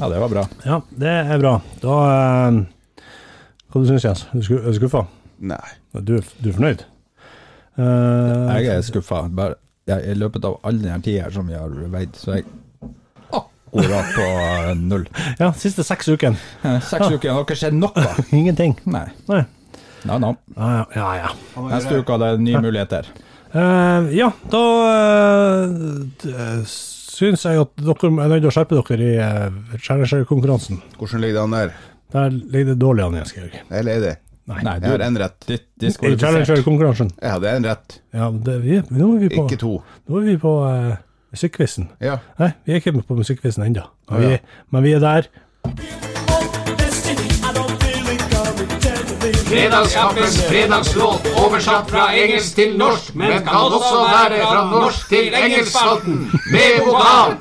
Ja, det var bra. Ja, det er bra. Da eh, Hva du syns du, Jens? Er du sku- Er du skuffa? Nei. Du, er- du er fornøyd? Eh, Jeg er skuffa. Bare- jeg- I løpet av all den tida som vi har veid, så er jeg akkurat på eh, null. ja, siste seks ukene. Eh, Seks uker, har dere sett noe? Ingenting. Nei. Nei. No, no. Ja, ja. ja, ja. Neste uke er det nye muligheter. Eh, ja, da uh, syns jeg at dere er nødt til å skjerpe dere i uh, skjæreskjærkonkurransen. Hvordan ligger det an der? Der ligger det dårlig an, Jens Georg. Eller er det? Nei, Jeg du har er én rett. dis- I diskvalifisert. Challenger-konkurransen. Jeg hadde én rett, Ja, men det, vi, nå er vi på, ikke to. nå er vi på eh, musikkquizen. Ja. Nei, vi er ikke på musikkquizen ennå. Men, ja. vi- men vi er der. Fredagskaffens fredagslåt oversatt fra engelsk til norsk, men kan også være fra norsk til engelskspalten med vokal.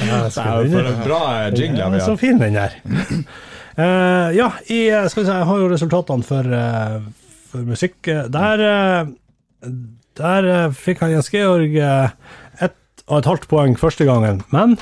Ja, For en bra eh, jingle Ja, vi men så har. fin den der. Eh, ja, i, eh, skal vi se, jeg har jo resultatene for, eh, for musikk. Eh, Der, eh, der eh, fikk han Jens Georg eh, ett og et halvt poeng første gangen, men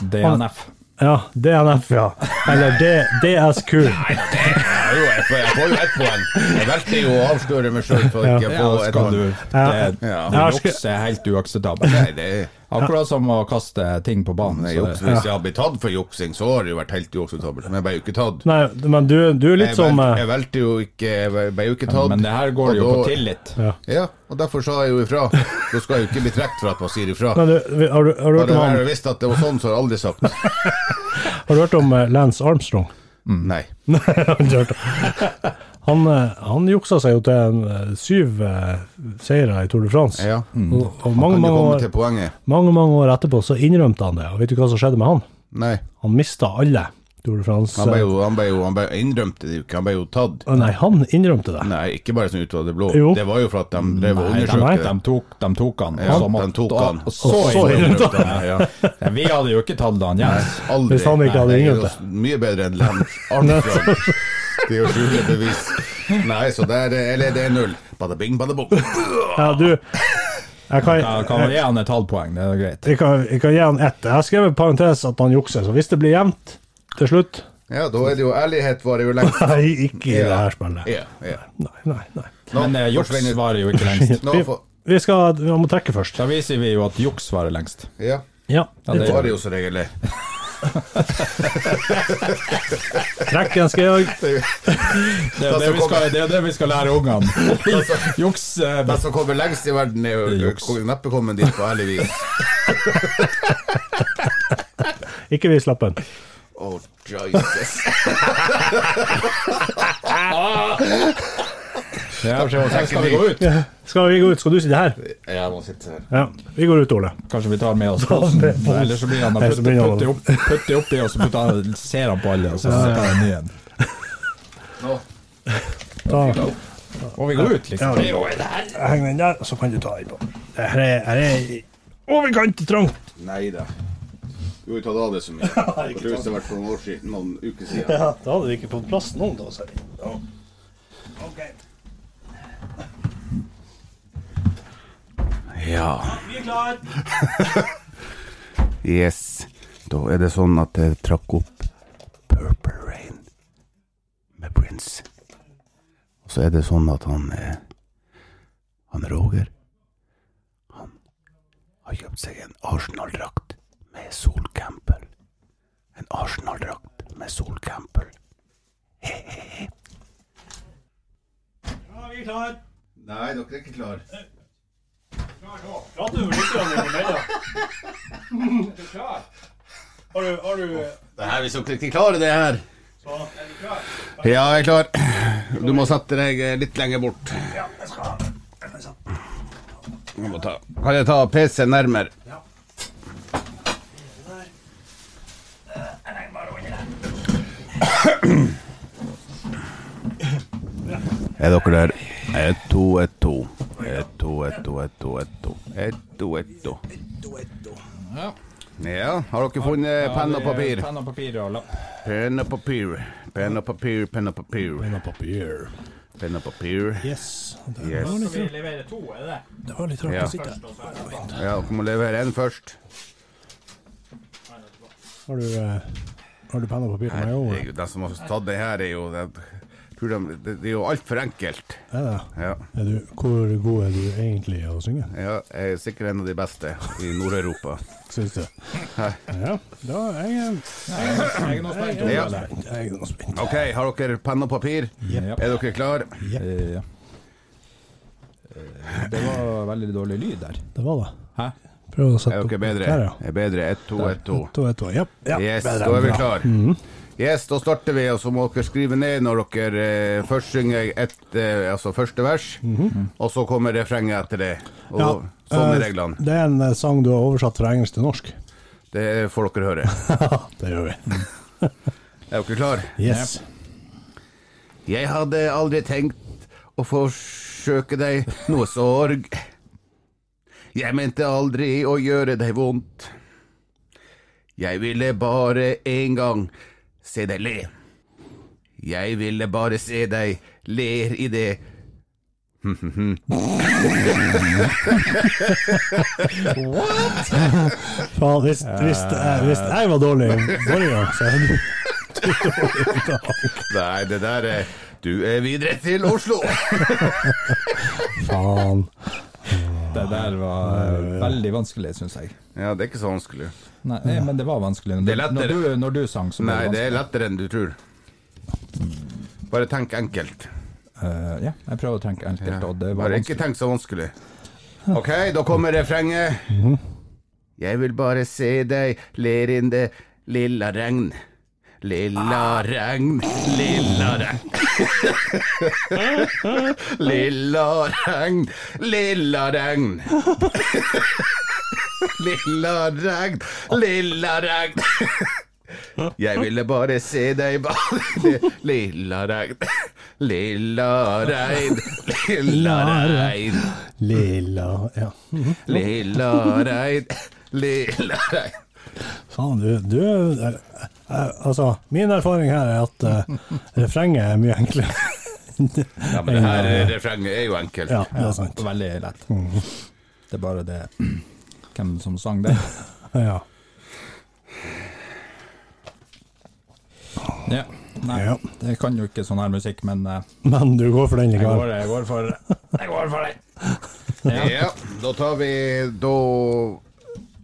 DNF. Ja, DNF, ja. Eller D, DSQ. Ja, jo, jeg får- jeg får jo ett poeng. Jeg valgte jo å avsløre meg sjøl for ikke å Ja, få et skal du poeng. Det, Ja. det juks er helt uakseptabelt. Nei, det er Akkurat som å kaste ting på banen. det er så juks. Hvis jeg hadde blitt tatt for juksing, så har det jo vært helt uakseptabelt. Men jeg ble jo ikke tatt. Nei, men du, du er litt Jeg som vel- eh, jeg valgte jo ikke Jeg ble- ble jo ikke tatt. Men det her går og jo da- på tillit. Ja, og derfor sa jeg jo ifra. Da skal jeg jo ikke bli trukket for at man sier ifra. men du, har, du, har, du hørt Hadde om jeg han, visst at det var sånn, så hadde jeg aldri sagt det. har du hørt om eh, Lance Armstrong? Mm. Nei. Nei, jeg har ikke hørt om. han, eh, han juksa seg jo til en, eh, syv eh, seire i Tour de France. Ja. Mm. Og, og mange, Kan mange, du komme år, til poenget? mange, mange år etterpå så innrømte han det, og vet du hva som skjedde med han? Nei. Han mista alle Tour de France. Han ble jo, han ble jo, han ble innrømte det jo ikke, han ble jo tatt. Å, Nei, han innrømte det. Nei, ikke bare sånn ut av det blå. Jo. Det var jo for at de drev og Nei, de, undersøkte de, det. tok, de tok han, Ja, og så måtte de tok han. Og så så innrømte innrømte han, ja. han. Vi hadde jo ikke tatt han, Jens. Aldri. Hvis han ikke hadde Nei, det er innrømt jo Mye bedre enn Lem Armstrong. Det er jo skjule bevis. Nei, så der eh, Eller det er null. Bada bing, bada bong. Ja, du, jeg kan, Ja, Kan vi gi han et halvt poeng, det er greit. jeg, kan, jeg kan gi han ett. Jeg har skrevet i parentes at han jukser, så hvis det blir jevnt til slutt Ja, da er det jo ærlighet varer jo lengst. Nei, ikke i det her spillet. Ja, ja. Nei, nei, nei. Nå Men eh, juks forsvinner- varer jo ikke lengst. Nå Vi, får- vi, skal, vi må trekke først. Da viser vi jo at juks varer lengst. Ja. Ja, Ja, det Det gjør var det jo som regel det. trekk en skrev. Det er jo det vi skal, det er jo det vi skal lære ungene. Juks eh, Den som kommer Altså, lengst i verden, er Det er jo juks. kommer neppe kommet dit på ærlig vis. Ikke vis lappen. Oh, Jesus. ja, Hvordan skal vi gå ut? Skal vi gå ut? Skal du sitte her? Jeg må sitte her. Ja, vi går ut, Ole. Kanskje vi tar med oss posen? Eller så blir han Nei, så blir han- putter opp, putter oppi, og så putter han, ser han på alle, og så setter han en ny en. Nå. Ta, Og vi går ut, liksom. heng den der, så kan du ta den på. Det her er, her er i overkant trangt. Nei da. Du har jo tatt av det så mye. Jeg tror det har vært for noen år siden, noen uker siden. Ja, da hadde vi ikke fått plass noen, da, sier vi. Ja. Ok. Ja. Vi er klare. Yes. Da er det sånn at jeg trakk opp Purple Rain med Prince. Og så er det sånn at han eh, Han Roger Han har kjøpt seg en Arsenal-drakt med Sol Campbell. En Arsenal-drakt med Sol Campbell. Ja, vi er klare. Nei, dere er ikke klare. Prater du med lytterne imellom? Har du, eh, har du Det her, Hvis dere ikke klarer det her Ja, jeg er klar. Du må sette deg eh, litt lenger bort. sånn. Du må ta. Kan jeg ta PC nærmere? Er dere der? Ett, to, ett, to. Ett, to, ett, to, ett, to, ett, to. Ett, to, ett, to. Ja, har dere funnet penn og papir? Penn og papir og lapp. Penn og papir, penn og papir, penn og papir. Penn og papir. Yes. Det Yes. var litt, Vi leverer to, er det det? det var litt rart Ja. å sitte her. Ja, dere må levere en først. Har du, eh, har du penn og papir til meg òg? Herregud, den som har tatt det her, er jo jeg tror de, Det det er jo altfor enkelt. Er det? Ja, Er du, hvor god er du egentlig i å synge, ja, jeg er sikkert en av de beste i Nord-Europa. syns du? Ja, da er jeg Jeg er nå spent. Ja. Jeg er nå spent. OK, har dere penn og papir? Yep. Er dere klare? Eh, ja. Eh, Det var veldig dårlig lyd der. Det var det. Hæ? Prøv å sette Er dere bedre? Der, ja. Er bedre? Ett, to, ett, to. To, ett, to. Ja. ja. Yes, bedre da er vi enn bra. Mhm. klare. Yes, da starter vi, og så må dere skrive ned når dere eh, først synger et, eh, altså første vers, og så kommer refrenget etter det. Og Mhm. Ja, Sånn er eh, reglene. Det er en eh, sang du har oversatt fra engelsk til norsk. Det får dere høre. Det gjør vi. Er dere klare? Yes. Jeg hadde aldri tenkt å forsøke deg noe sorg. Jeg mente aldri å gjøre deg vondt. Jeg ville bare en gang se deg le. Jeg ville bare se deg ler i det Faen, hvis, hvis, eh, hvis jeg var dårlig forrige gang, så er du- du er dårlig i dag. Nei, det der er Du er videre til Oslo! Faen. Det der var veldig vanskelig, syns jeg. Ja, det er ikke så vanskelig. Nei, eh, men det var vanskelig. Det Når, er lettere. når, du, når du sang, så Nei, var det det er vanskelig. lettere enn du tror. Bare tenk enkelt. Eh, ja, jeg prøver å tenke enkelt, og det var Bare ikke tenk vanskelig. så vanskelig. Ok, da kommer refrenget. Mhm. Jeg vil bare se deg ler inn det lilla regn. Ah. Lilla regn, lilla regn. lilla regn, lilla regn. lilla regn, lilla regn. Jeg ville bare se deg bade Lilla regn Lilla regn Lilla regn Lilla Ja. Lilla regn Lilla regn Faen, du, du eh, eh, Altså, min erfaring her er at eh, refrenget er mye enklere. Ja, men det her eh, refrenget er jo enkelt Mm. Ja, det er sant. Veldig lett. Det er bare det Hvem som sang det? Ja. Ja. Nei, Ja. det kan jo ikke sånn her musikk, men eh, Men du går for den jeg, likevel. går, jeg går for Jeg går for det. Ja. Ja, da tar vi Da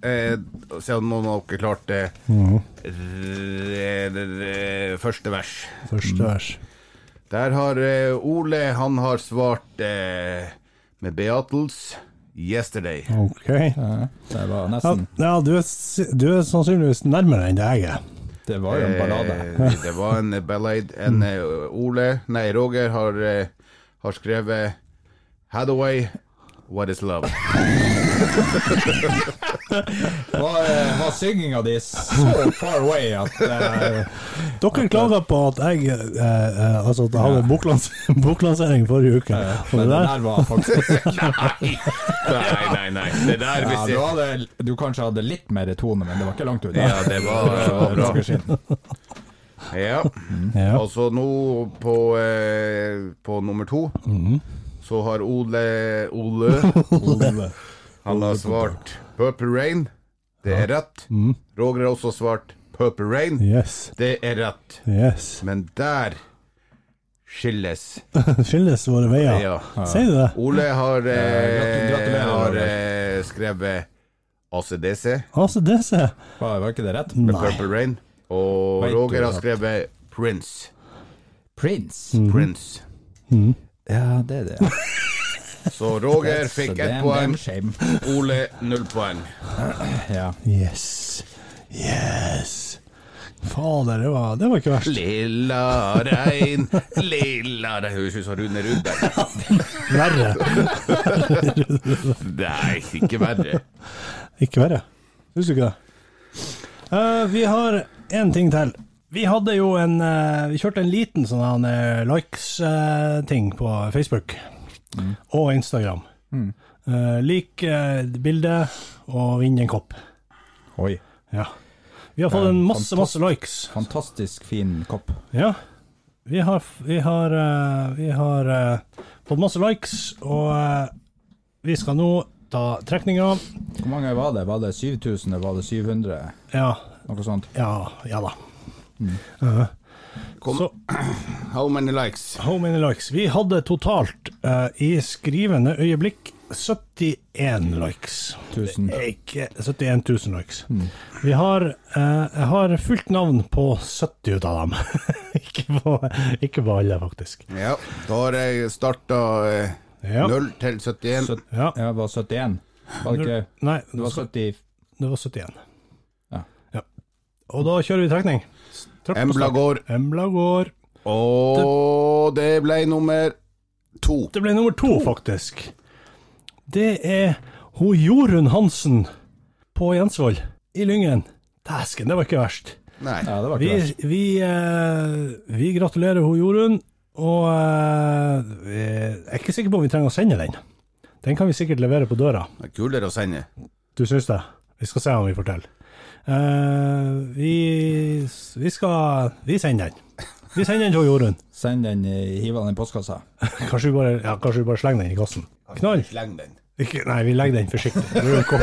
eh, Se om noen av dere klarte Mhm. re- re- Første vers Første vers. Der har eh, Ole Han har svart eh, Med Beatles Yesterday OK. Ja, Det var nesten ja du, er, si- du er sannsynligvis nærmere enn det jeg er. Det var jo en ballade. Eh, det var en ballade. En eh, Ole, nei, Roger har, eh, har skrevet Hathaway, What is love? Var, eh, var synginga di så far away at eh, Dere klaga på at jeg eh, eh, Altså at jeg hadde boklans boklansering forrige uke. Og det Men det der der var faktisk nei, nei, nei, nei. Det der ja, hvis du, jeg hadde, du kanskje hadde litt mer tone, men det var ikke langt unna. Ja, det var, det var bra. bra. Ja. Ja. Og så nå på, eh, på nummer to, så har Ole Mm. Ole Han har svart Purple Rain. Det er rett. Roger har også svart Purple Rain. Yes. Det er rett. Yes. Men der skilles Skilles våre veier. Ja. Sier du det? Ole har, gratu- eh, gratulerer, har Roger. eh, skrevet ACDC Altså, det ser Var, var ikke det rett? med Nei. Purple Rain, og Vet du Roger har at- skrevet Prince. Mm. Prince. Prince. Ja, det er det. Så Roger fikk ett poeng, Shame. Ole null poeng. Ja. Yes. Yes. Fader, det var, det var ikke verst. Lilla regn, lilla regn Høres ut som Rune Rudberg. Verre. Nei, ikke verre. Ikke verre. Syns du ikke det? Eh, vi har én ting til. Vi hadde jo en eh, Vi kjørte en liten sånn likes-ting eh, på Facebook og Instagram. Eh, lik eh, bildet og vinn en kopp. Oi. Ja. Vi har fått en masse, masse likes. Fantastisk fin kopp. Ja. Vi har, vi har, eh, vi har eh, fått masse likes, og eh, vi skal nå ta trekninga. Hvor mange var det? Var det 7000? eller Var det 700? Ja, Noe sånt. ja, ja da. Eh, Kom. Så- How many likes? How many likes? Vi hadde totalt eh, i skrivende øyeblikk 71 likes. 1000. Ikke 71 000 likes. Vi har eh, Jeg har fullt navn på 70 ut av dem. ikke, på, ikke på alle, faktisk. Ja, da har jeg starta eh, Ja. 0 til 71. Sytt- Ja. Ja, det var 71. Var det ikke Nei, Det var 70 Det var 71. Ja. Og da kjører vi trekning. Trakk på Embla start. går. Embla går. Og det ble nummer to. Det ble nummer to, faktisk. Det er ho Jorunn Hansen på Jensvoll i Lyngen. Dæsken, det var ikke verst. Nei. Ja, det var Vi, ikke verst. vi, eh, vi gratulerer ho Jorunn, og eh, vi- jeg er ikke sikker på om vi trenger å sende den. Den kan vi sikkert levere på døra. Det er kulere å sende. Du syns det? Vi skal se om vi får til. Eh, vi, vi skal Vi sender den. Vi sender den til Jorunn. Send den, i- hiv den i postkassa. Kanskje vi bare, ja, kanskje vi bare slenger den i kassen. Knall! Sleng den. Ikke, nei, vi legger den forsiktig. Det blir en kopp.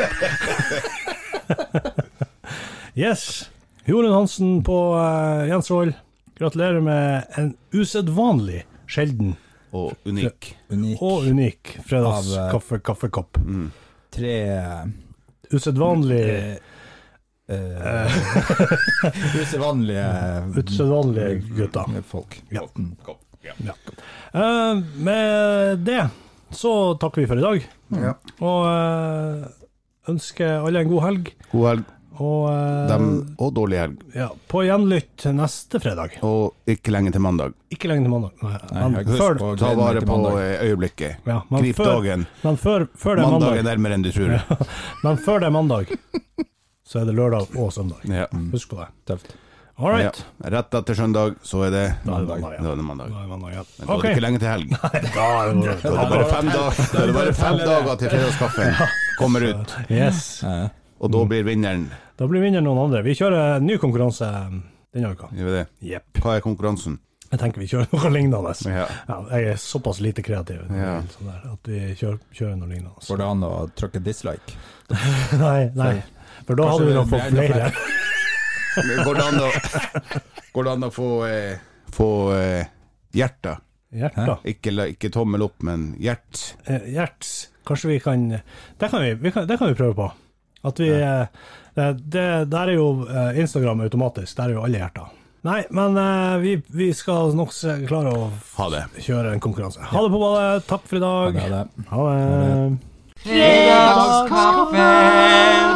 yes. Jorunn Hansen på eh, Jens Roll, gratulerer med en usedvanlig sjelden Og unik. Unik. og unik Av, eh, fredagskaffekopp. Tre eh, Usedvanlig usedvanlige Usedvanlige Mm. gutter. folk. Ja. Ja. Eh, med det så takker vi for i dag. Mm. Ja. Og eh, ønsker alle en god helg. God helg, Og eh, dem, og dårlig helg. ja, på gjenlytt neste fredag. Og ikke lenge til mandag. Ikke lenge til mandag. Nei, jeg men, husker før, på- Ta Gleder meg vare til på mandag. eh, øyeblikket. ja, men, Grip før, dagen. men før, før det er Mandag er mandag, nærmere enn du tror. men før det er mandag, så er det lørdag og søndag. Ja. Husk på det. Tøft. All Ja. right. Rett etter søndag, så er det Da er det mandag, ja. Da er det mandag. Da er det mandag, ja. Men da er det ikke lenge til helg. Da Ok. er det bare fem, dag, da er det bare fem dager til fredagskaffen kommer ut. Yes. Og da blir vinneren Da blir vinneren noen andre. Vi kjører en ny konkurranse um, denne uka. Gjør vi det? Jepp. Hva er konkurransen? Jeg tenker vi kjører noe lignende. Ja. jeg er såpass lite kreativ Ja. sånn der, at vi kjører, kjører noe lignende. Går det an å trykke dislike? Nei, nei. For da hadde vi nok fått Kanskje det blir flere. enda Går det an å, går det an å få, eh, få eh, hjerter? Hjerta. Ikke, la- ikke tommel opp, men hjert. Eh, Hjerts. Kanskje vi kan Det kan vi, vi, kan, det kan vi prøve på. At vi eh, det, det, Der er jo eh, Instagram automatisk. Der er jo alle hjerter. Nei, men eh, vi, vi skal nok se- klare å Ha det. kjøre en konkurranse. Ha det på badet. Takk for i dag. Ha det. Ha det. Fredagskaffen!